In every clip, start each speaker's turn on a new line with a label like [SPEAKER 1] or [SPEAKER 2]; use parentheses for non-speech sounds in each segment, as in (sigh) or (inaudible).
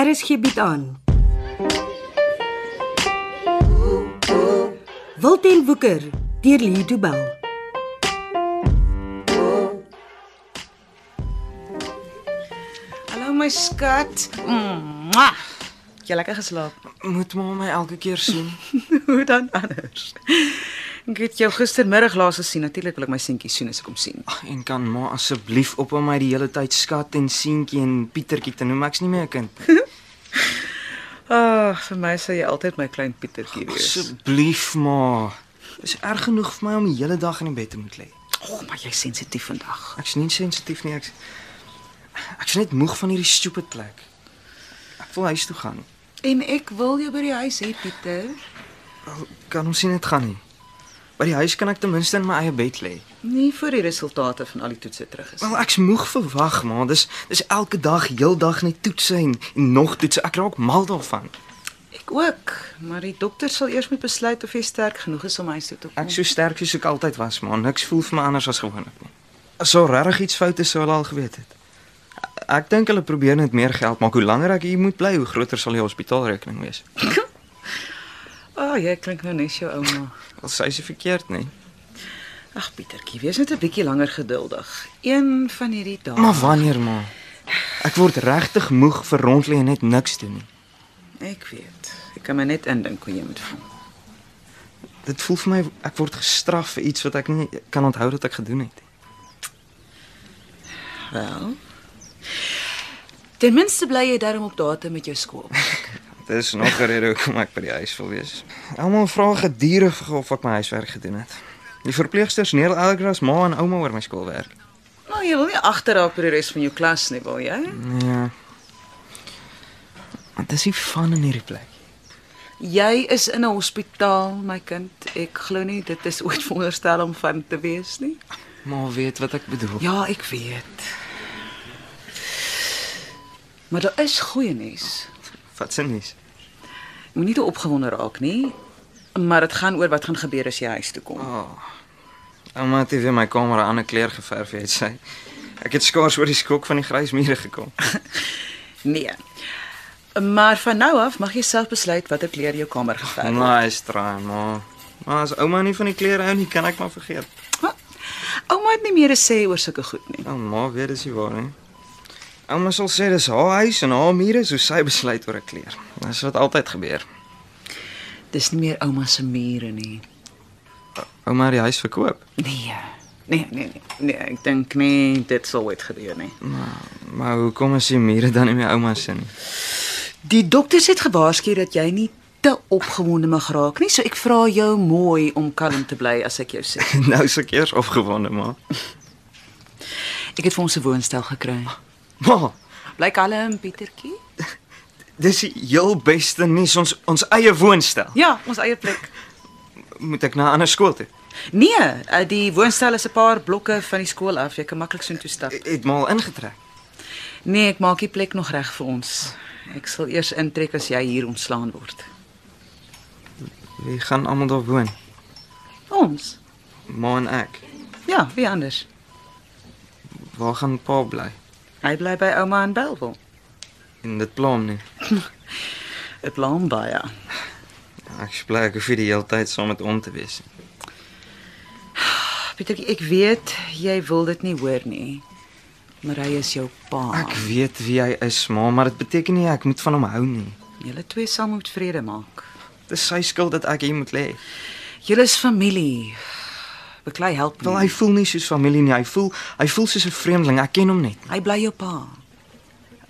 [SPEAKER 1] Er
[SPEAKER 2] RSG bied aan. Wilten Woeker deur Lee Du Bell.
[SPEAKER 1] Hallo my skat. Mwah. Jy lekker geslaap.
[SPEAKER 3] Moet ma my elke keer sien?
[SPEAKER 1] (laughs) Hoe dan anders? Ek het jou gistermiddag laas gesien. Natuurlik wil ek my seentjie soen as ek hom sien.
[SPEAKER 3] Ag, En kan ma asseblief op om my die hele tyd skat en seentjie en Pietertjie te noem? Ek's nie meer 'n kind.
[SPEAKER 1] Ag, Ah, vir my sal jy altyd my klein Pietertjie wees.
[SPEAKER 3] Asseblief ma. Is erg genoeg vir my om die hele dag in die bed te moet lê.
[SPEAKER 1] O, maar jy's sensitief vandag.
[SPEAKER 3] Ek's nie sensitief nie. Ek's Ek's net moeg van hierdie stupid plek. Ek wil huis toe gaan.
[SPEAKER 1] En ek wil jou by die huis hê, Pieter.
[SPEAKER 3] Wel, Kan ons nie net gaan nie. By die huis kan ek ten minste in my eie bed lê.
[SPEAKER 1] Nie vir die resultate van al die toetse terug is.
[SPEAKER 3] Wel, ek's moeg vir wag, ma. Dis dis elke dag, heeldag net toetse en, en nog toetse. Ek raak mal daarvan.
[SPEAKER 1] Ek ook, maar die dokter sal eers moet besluit of jy sterk genoeg is om huis toe te kom.
[SPEAKER 3] Ek so sterk soos ek altyd was, maar niks voel vir my anders as gewoonlik nie. As so regtig iets fout is, sou hulle al geweet het. Ek dink hulle probeer net meer geld maak. Hoe langer ek hier moet bly, hoe groter sal die hospitaalrekening wees.
[SPEAKER 1] Ah, oh, jy klink nou net jou ouma.
[SPEAKER 3] Al sê sy verkeerd, nee.
[SPEAKER 1] Ag Pietertjie, wees net 'n bietjie langer geduldig. Een van hierdie dae.
[SPEAKER 3] Maar wanneer, ma? Ek word regtig moeg vir rondlê en net niks doen nie.
[SPEAKER 1] Ek weet. Ek kan my net indink hoe jy moet voel.
[SPEAKER 3] Dit voel vir my ek word gestraf vir iets wat ek nie kan onthou dat ek gedoen het.
[SPEAKER 1] Wel. Ten minste bly jy daarom op datum met jou skool.
[SPEAKER 3] Dit is nog 'n rede hoekom ek by die huis wil wees. Almal vra gedurig of ek my huiswerk gedoen het. Die verpleegsters neel elke dag ma en ouma oor my skoolwerk.
[SPEAKER 1] (laughs) Nou jy wil nie agterraak vir die res van jou klas nie, wil jy?
[SPEAKER 3] Ja. Want dis die van in hierdie plek.
[SPEAKER 1] Jy is in 'n hospitaal, my kind. Ek glo nie dit is ooit (laughs) veronderstel om van te wees nie.
[SPEAKER 3] Maar weet wat ek bedoel.
[SPEAKER 1] Ja, ek weet. Maar daar is goeie nuus.
[SPEAKER 3] Wat sin is.
[SPEAKER 1] Moenie te opgewonde raak nie, maar dit gaan oor wat gaan gebeur as jy huis toe kom.
[SPEAKER 3] Oh. Ouma het weer my kamer 'n ander kleur geverf, het sy. Ek het skaars oor die skok van die grys mure gekom.
[SPEAKER 1] Nee. Maar van nou af mag jy self besluit watter kleur jou kamer geverf word.
[SPEAKER 3] Nice try, ma. Maar as ouma nie van die kleure hou nie, kan ek maar vergeet.
[SPEAKER 1] Wat? Ouma het nie meer 'n sê oor sulke goed nie.
[SPEAKER 3] Nou, ma weet dis nie waar nie. Ouma sal sê dis haar huis en haar mure, so sy besluit oor 'n kleur. Dis wat altyd gebeur.
[SPEAKER 1] Dis nie meer ouma se mure nie.
[SPEAKER 3] Ouma het die huis verkoop.
[SPEAKER 1] Nee. Nee, nee, nee, nee, ek dink nie dit sal ooit gebeur nie.
[SPEAKER 3] Maar hoekom is die mure dan nie meer ouma se nie?
[SPEAKER 1] Die dokters het gewaarsku dat jy nie te opgewonde mag raak nie, so ek vra jou mooi om kalm te bly as ek jou sê.
[SPEAKER 3] (laughs) Nou se keers opgewonde, ma.
[SPEAKER 1] Ek het vir ons 'n woonstel gekry.
[SPEAKER 3] Ma,
[SPEAKER 1] Bly kalm, Pietertjie.
[SPEAKER 3] dis die heel beste nuus ons ons eie woonstel.
[SPEAKER 1] Ja, ons eie plek.
[SPEAKER 3] Moet ek na 'n ander skool toe?
[SPEAKER 1] Nee, eh, die woonstel is 'n paar blokke van die skool af. Jy kan maklik soontoe stap.
[SPEAKER 3] Ek E-, Het maar al ingetrek.
[SPEAKER 1] Nee, ek maak die plek nog reg vir ons. Ek sal eers intrek as jy hier ontslaan word.
[SPEAKER 3] Wie gaan almal daar woon?
[SPEAKER 1] Ons?
[SPEAKER 3] Ma en ek.
[SPEAKER 1] Ja, wie anders?
[SPEAKER 3] Waar gaan pa bly?
[SPEAKER 1] Hy bly by ouma in Belwel.
[SPEAKER 3] En dit pla hom nie.
[SPEAKER 1] Dit laam baie.
[SPEAKER 3] Ek bly ek hoef nie die hele tyd saam met hom te wees nie.
[SPEAKER 1] Pietertjie, ek weet jy wil dit nie hoor nie. Maar hy is jou pa.
[SPEAKER 3] Ek weet wie hy is, ma, maar dit beteken nie ek moet van hom hou nie.
[SPEAKER 1] Julle twee sal moet vrede maak.
[SPEAKER 3] Dis sy skuld dat ek hier moet lê.
[SPEAKER 1] Julle is familie. Beklei help
[SPEAKER 3] Wel, hy
[SPEAKER 1] nie.
[SPEAKER 3] voel nie soos familie nie. Hy voel hy voel soos 'n vreemdeling. Ek ken hom net.
[SPEAKER 1] Hy bly jou pa.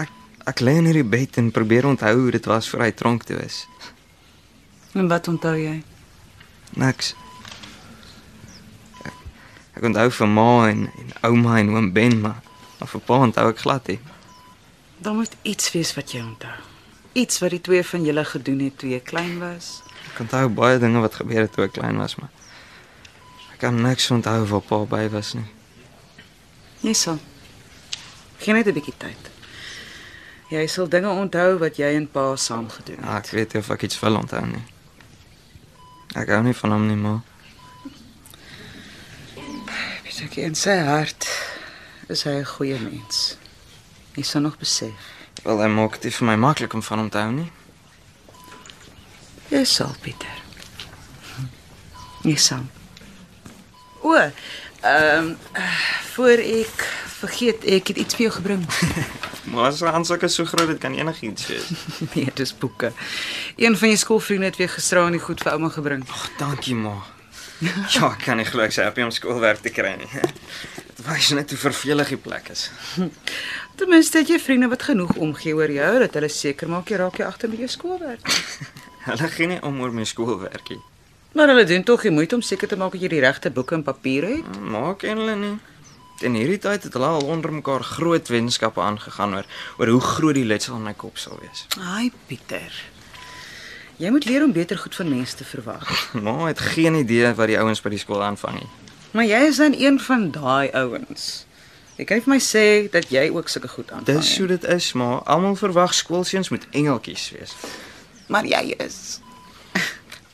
[SPEAKER 3] Ek ek lê in hierdie bed en probeer onthou hoe dit was voor hy dronk toe is.
[SPEAKER 1] En wat onthou jy?
[SPEAKER 3] Niks. Ek, ek onthou vir ma en, en ouma en oom Ben, maar maar vir pa onthou ek glad nie.
[SPEAKER 1] Daar moet iets wees wat jy onthou. Iets wat die twee van julle gedoen het toe jy klein was.
[SPEAKER 3] Ek onthou baie dinge wat gebeur het toe ek klein was, maar ek kan niks onthou waar pa by was nie.
[SPEAKER 1] Jy sal. Geen net 'n bietjie tyd. Jy sal dinge onthou wat jy en pa saam gedoen
[SPEAKER 3] Ja,
[SPEAKER 1] het.
[SPEAKER 3] ek weet nie of ek iets wil onthou nie. Ek hou nie van hom nie, maar
[SPEAKER 1] Weet ek in sy hart is hy 'n goeie mens. Jy sal nog besef.
[SPEAKER 3] Wel, hy maak dit nie vir my maklik om van hom te hou nie.
[SPEAKER 1] Jy sal, Pieter. Jy sal. O, ehm eh, voor ek vergeet, ek het iets vir jou gebring.
[SPEAKER 3] Maar sy handsak is so groot dit kan enigiets wees.
[SPEAKER 1] (laughs) nee, dis boeke. Een van jou skoolvriende het weer gisteraan die goed vir ouma gebring.
[SPEAKER 3] Ag, dankie ma. Ja, ek kan nie glo ek's happy om skoolwerk te kry nie. (laughs) Dit wys net hoe vervelig die plek is.
[SPEAKER 1] Ten minste het jy vriende wat genoeg omgee oor jou dat hulle seker maak jy raak jy agter met jou skoolwerk.
[SPEAKER 3] Hulle gee nie om oor my skoolwerk nie.
[SPEAKER 1] Maar hulle doen tog die moeite om seker te maak dat jy die regte boeke en papiere het.
[SPEAKER 3] Maak en hulle nie. In hierdie tyd het hulle al onder mekaar groot wetenskappe aangegaan oor oor hoe groot die letsel in my kop sal wees. (laughs)
[SPEAKER 1] Ai, Pieter. Jy moet leer om beter goed van mense te verwag.
[SPEAKER 3] Ma het geen idee wat die ouens by die skool aanvang nie.
[SPEAKER 1] Maar jy is dan een van daai ouens. Ek kan nie vir my sê dat jy ook sulke goed aan.
[SPEAKER 3] Dis hoe dit is, ma. Almal verwag skoolseuns moet engeltjies wees.
[SPEAKER 1] maar jy is.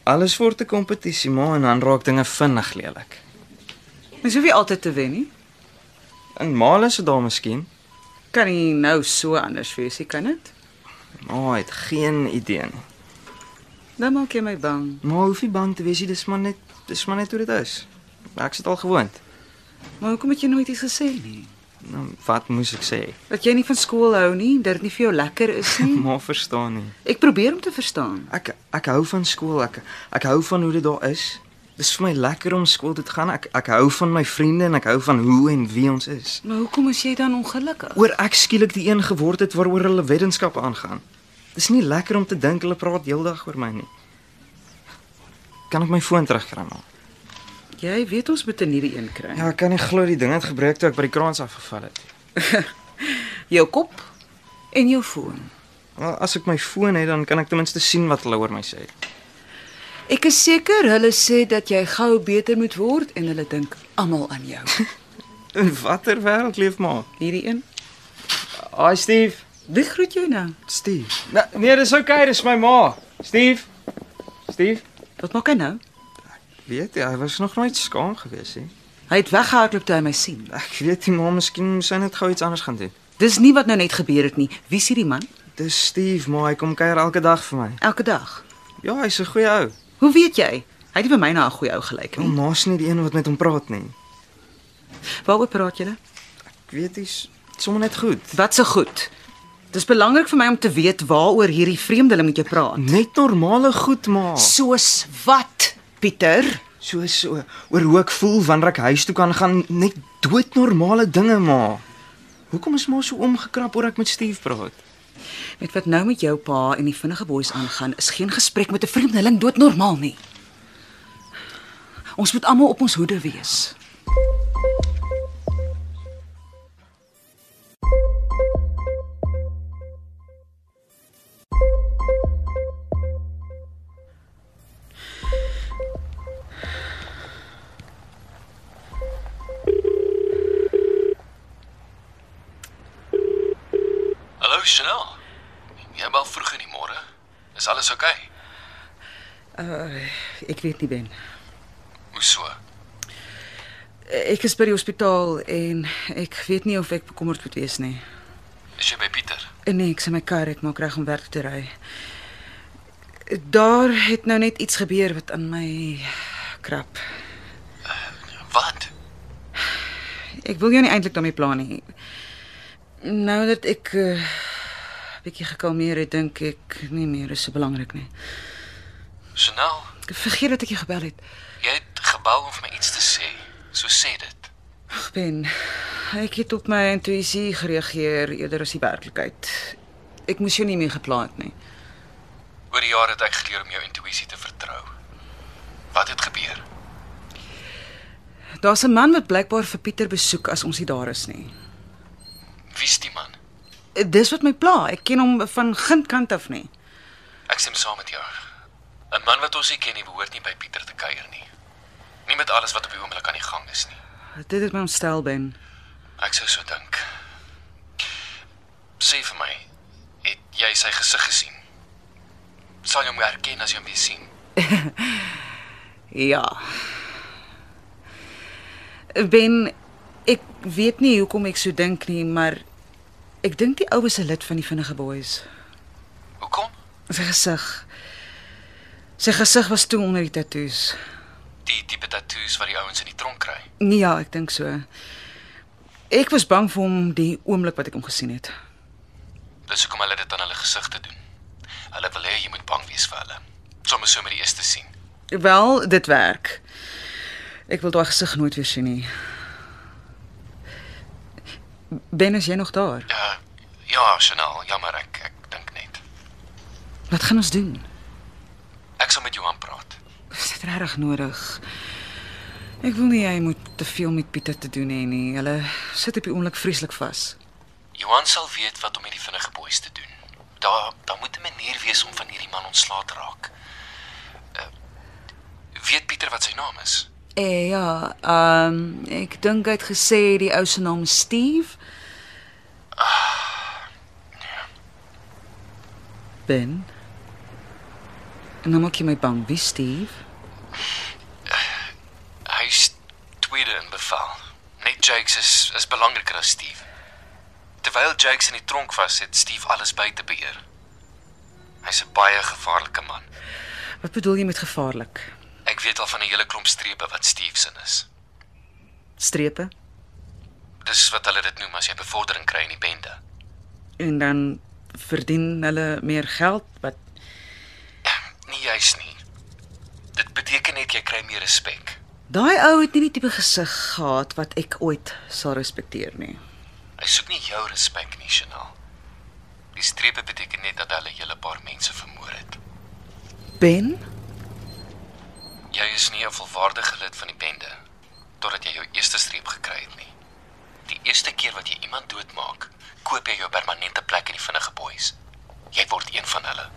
[SPEAKER 3] Alles word 'n kompetisie, ma, en dan raak dinge vinnig lelik.
[SPEAKER 1] Mens hoef nie altyd te wen nie.
[SPEAKER 3] En Male se daar miskien.
[SPEAKER 1] Kan nie nou so anders wees nie, kan dit?
[SPEAKER 3] Ma het geen idee nie.
[SPEAKER 1] Dan maak jy my bang.
[SPEAKER 3] Maar hoef nie bang te wees nie, dis maar net dis maar net hoe dit is. Ek sit al gewoond.
[SPEAKER 1] Maar hoekom het jy nooit iets gesê nie?
[SPEAKER 3] Nou, wat moes ek sê?
[SPEAKER 1] Dat jy nie van skool hou nie, dat dit nie vir jou lekker is
[SPEAKER 3] (laughs)
[SPEAKER 1] nie.
[SPEAKER 3] Maar verstaan nie.
[SPEAKER 1] Ek probeer om te verstaan.
[SPEAKER 3] Ek ek hou van skool. Ek ek hou van hoe dit daar is. Dis vir my lekker om skool toe te gaan. Ek ek hou van my vriende en ek hou van hoe en wie ons is.
[SPEAKER 1] Maar hoekom is jy dan ongelukkig?
[SPEAKER 3] Oor ek skielik die een geword het waaroor hulle wetenskappe aangaan. Dis nie lekker om te dink hulle praat heeldag oor my nie. Kan ek my foon terugkry maar?
[SPEAKER 1] Jy weet ons moet 'n nuwe een kry.
[SPEAKER 3] Ja, ek kan nie glo die ding het gebreek toe ek by die kraans afgeval het.
[SPEAKER 1] (laughs) Jou kop en jou foon.
[SPEAKER 3] Wel, as ek my foon het, dan kan ek ten minste sien wat hulle oor my sê.
[SPEAKER 1] Ek is seker hulle sê dat jy gou beter moet word en hulle dink almal aan jou.
[SPEAKER 3] In watter wêreld leef maar?
[SPEAKER 1] Hierdie een.
[SPEAKER 3] Hi Steve.
[SPEAKER 1] Wie groet jou nou?
[SPEAKER 3] Steve. Nee, nee dis oukei, okay, dis my ma. Steve. Steve.
[SPEAKER 1] Wat maak hy nou?
[SPEAKER 3] Weet jy, hy was nog nooit skaam gewees nie.
[SPEAKER 1] Hy het weggehardloop toe hy my sien.
[SPEAKER 3] Ek weet nie, maar miskien moes hy net gou iets anders gaan doen.
[SPEAKER 1] Dis nie wat nou net gebeur het nie. Wie is hierdie man?
[SPEAKER 3] Dis Steve, maar hy kom kuier elke dag vir my.
[SPEAKER 1] Elke dag.
[SPEAKER 3] Ja, hy's 'n goeie ou.
[SPEAKER 1] Hoe weet jy? Hy het nie vir my na 'n goeie ou gelyk
[SPEAKER 3] Hom
[SPEAKER 1] nie.
[SPEAKER 3] ma's nie die een wat met hom praat nie.
[SPEAKER 1] Waaroor praat julle?
[SPEAKER 3] Ek weet hy's sommer net goed.
[SPEAKER 1] Wat se goed? Dis belangrik vir my om te weet waaroor hierdie vreemdeling met jou praat.
[SPEAKER 3] Net normale goed maar.
[SPEAKER 1] Soos wat, Pieter?
[SPEAKER 3] So so oor hoe ek voel wanneer ek huis toe kan gaan, net doodnormale dinge maar. Hoekom is maar so omgekrap oor ek met Steve praat?
[SPEAKER 1] Met wat nou met jou pa en die vinnige boeis aangaan, is geen gesprek met 'n vreemdeling doodnormaal nie. Ons moet almal op ons hoede wees.
[SPEAKER 4] Hallo Chanel. Jy bel vroeg in die môre. Is alles oukei? Okay?
[SPEAKER 1] Ek weet nie ben.
[SPEAKER 4] Hoe so?
[SPEAKER 1] Eh, Ek is by die hospitaal en ek weet nie of ek bekommerd moet wees nie.
[SPEAKER 4] Is jy by Pieter?
[SPEAKER 1] En nee, ek's in my kar, ek maak reg om werk toe te ry. Daar het nou net iets gebeur wat aan my krap.
[SPEAKER 4] Wat?
[SPEAKER 1] Ek wil jou nie eintlik daarmee pla nie. Nou dat ek 'n uh, bietjie gekalmeer het, dink ek nie meer is so belangrik nie.
[SPEAKER 4] Chanel,
[SPEAKER 1] Ek vergeet dat ek jou gebel het.
[SPEAKER 4] jy het gebel om vir my iets te sê. So sê dit.
[SPEAKER 1] Ag Ben, ek het op my intuïsie gereageer eerder as die werklikheid. Ek moes jou nie meer gepla het nie.
[SPEAKER 4] Oor die jare het ek geleer om jou intuïsie te vertrou. Wat het gebeur?
[SPEAKER 1] Daar's 'n man wat blykbaar vir Pieter besoek as ons nie daar is nie.
[SPEAKER 4] Wie's die man?
[SPEAKER 1] Dis wat my pla. Ek ken hom van gintkant af nee. nie.
[SPEAKER 4] Ek stem saam met jou. 'n Man wat ons nie ken nie, behoort nie by Pieter te kuier nie. Nie met alles wat op die oomblik aan die gang is nie.
[SPEAKER 1] Dit het my ontstel ben.
[SPEAKER 4] Ek sou so dink. Sê vir my, het jy sy gesig gesien? Sal jy hom herken as jy hom weer sien?
[SPEAKER 1] Ja. Ben, ek weet nie hoekom ek so dink nie, nee, maar Ek dink die oues se lid van die vinnige boeis.
[SPEAKER 4] Hoekom?
[SPEAKER 1] Sy gesig. Sy gesig was toe onder die tatoeëns.
[SPEAKER 4] Die tipe tatoeëns wat die ouens in die tronk kry.
[SPEAKER 1] Nee, ja, ek dink so. Ek was bang vir hom die oomblik wat ek hom gesien het.
[SPEAKER 4] Dis hoekom hulle dit aan hulle gesigte doen. Hulle wil hê jy moet bang wees vir hulle. Sommige so met die eerste sien.
[SPEAKER 1] Wel, dit werk. Ek wil daai gesig nooit weer sien nie. Ben is jy nog daar?
[SPEAKER 4] Ja, ja, Chanel, jammer ek ek dink net.
[SPEAKER 1] Wat gaan ons doen?
[SPEAKER 4] Ek sal met Johan praat.
[SPEAKER 1] Is dit regtig nodig? Ek wil nie hy moet te veel met Pieter te doen hê nie. Hulle sit op die oomblik vreeslik vas.
[SPEAKER 4] Johan sal weet wat om met die vinnige boeis te doen. Daar daar moet 'n manier wees om van hierdie man ontslae te raak. Uh, weet Pieter wat sy naam is?
[SPEAKER 1] Eh ja, ehm um, ek dink hy het gesê die ou se naam is Steve. Ben. En dan maak jy my bang, wie Steve?
[SPEAKER 4] Hy's tweede in bevel. Net Jakes is is belangriker as Steve. Terwyl Jakes in die tronk was, het Steve alles buite beheer. Hy's 'n baie gevaarlike man.
[SPEAKER 1] Wat bedoel jy met gevaarlik?
[SPEAKER 4] Ek weet al van 'n hele klomp strepe wat Steve se is.
[SPEAKER 1] Strepe
[SPEAKER 4] Dis wat hulle dit noem as jy bevordering kry in die bende. (clears throat)
[SPEAKER 1] en dan verdien hulle meer geld wat
[SPEAKER 4] Nee, juis nie. Dit beteken net jy kry meer respek.
[SPEAKER 1] Daai ou het nie die tipe gesig gehad wat ek ooit sal respekteer nie.
[SPEAKER 4] Hy soek nie jou respek nie, Chanel. Die strepe beteken net dat hulle 'n hele paar mense vermoor het.
[SPEAKER 1] Ben,
[SPEAKER 4] Jy is nie 'n volwaardige lid van die bende totdat jy jou eerste streep gekry het nie. Die eerste keer wat jy iemand doodmaak, koop jy jou permanente plek in die vinnige boeis. Jy word een van hulle.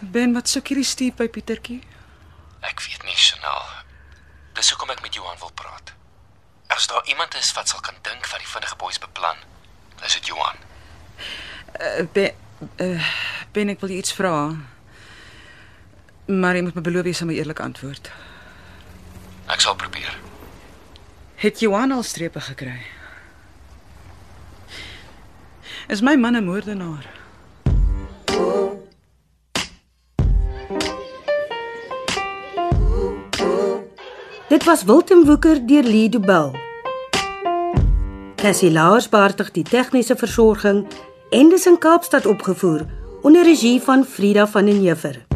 [SPEAKER 1] Ben, wat soek hierdie stuur by Pietertjie?
[SPEAKER 4] Ek weet nie, Chanel. Dis hoekom ek met Johan wil praat. As daar iemand is wat sal kan dink wat die vinnige boeis beplan, is dit Johan.
[SPEAKER 1] Uh, ben, uh, ben ek wil jou iets vra. Maar jy moet my beloof jy sal my eerlik antwoord.
[SPEAKER 4] Ek sal probeer.
[SPEAKER 1] Het Johan al strepe gekry? Is my man 'n moordenaar?
[SPEAKER 2] Dit was Wilten Woeker deur Lee Du Bell. Cassie Lars beheerdig die tegniese versorging en dis in Kaapstad opgevoer onder regie van Frida van den Heever.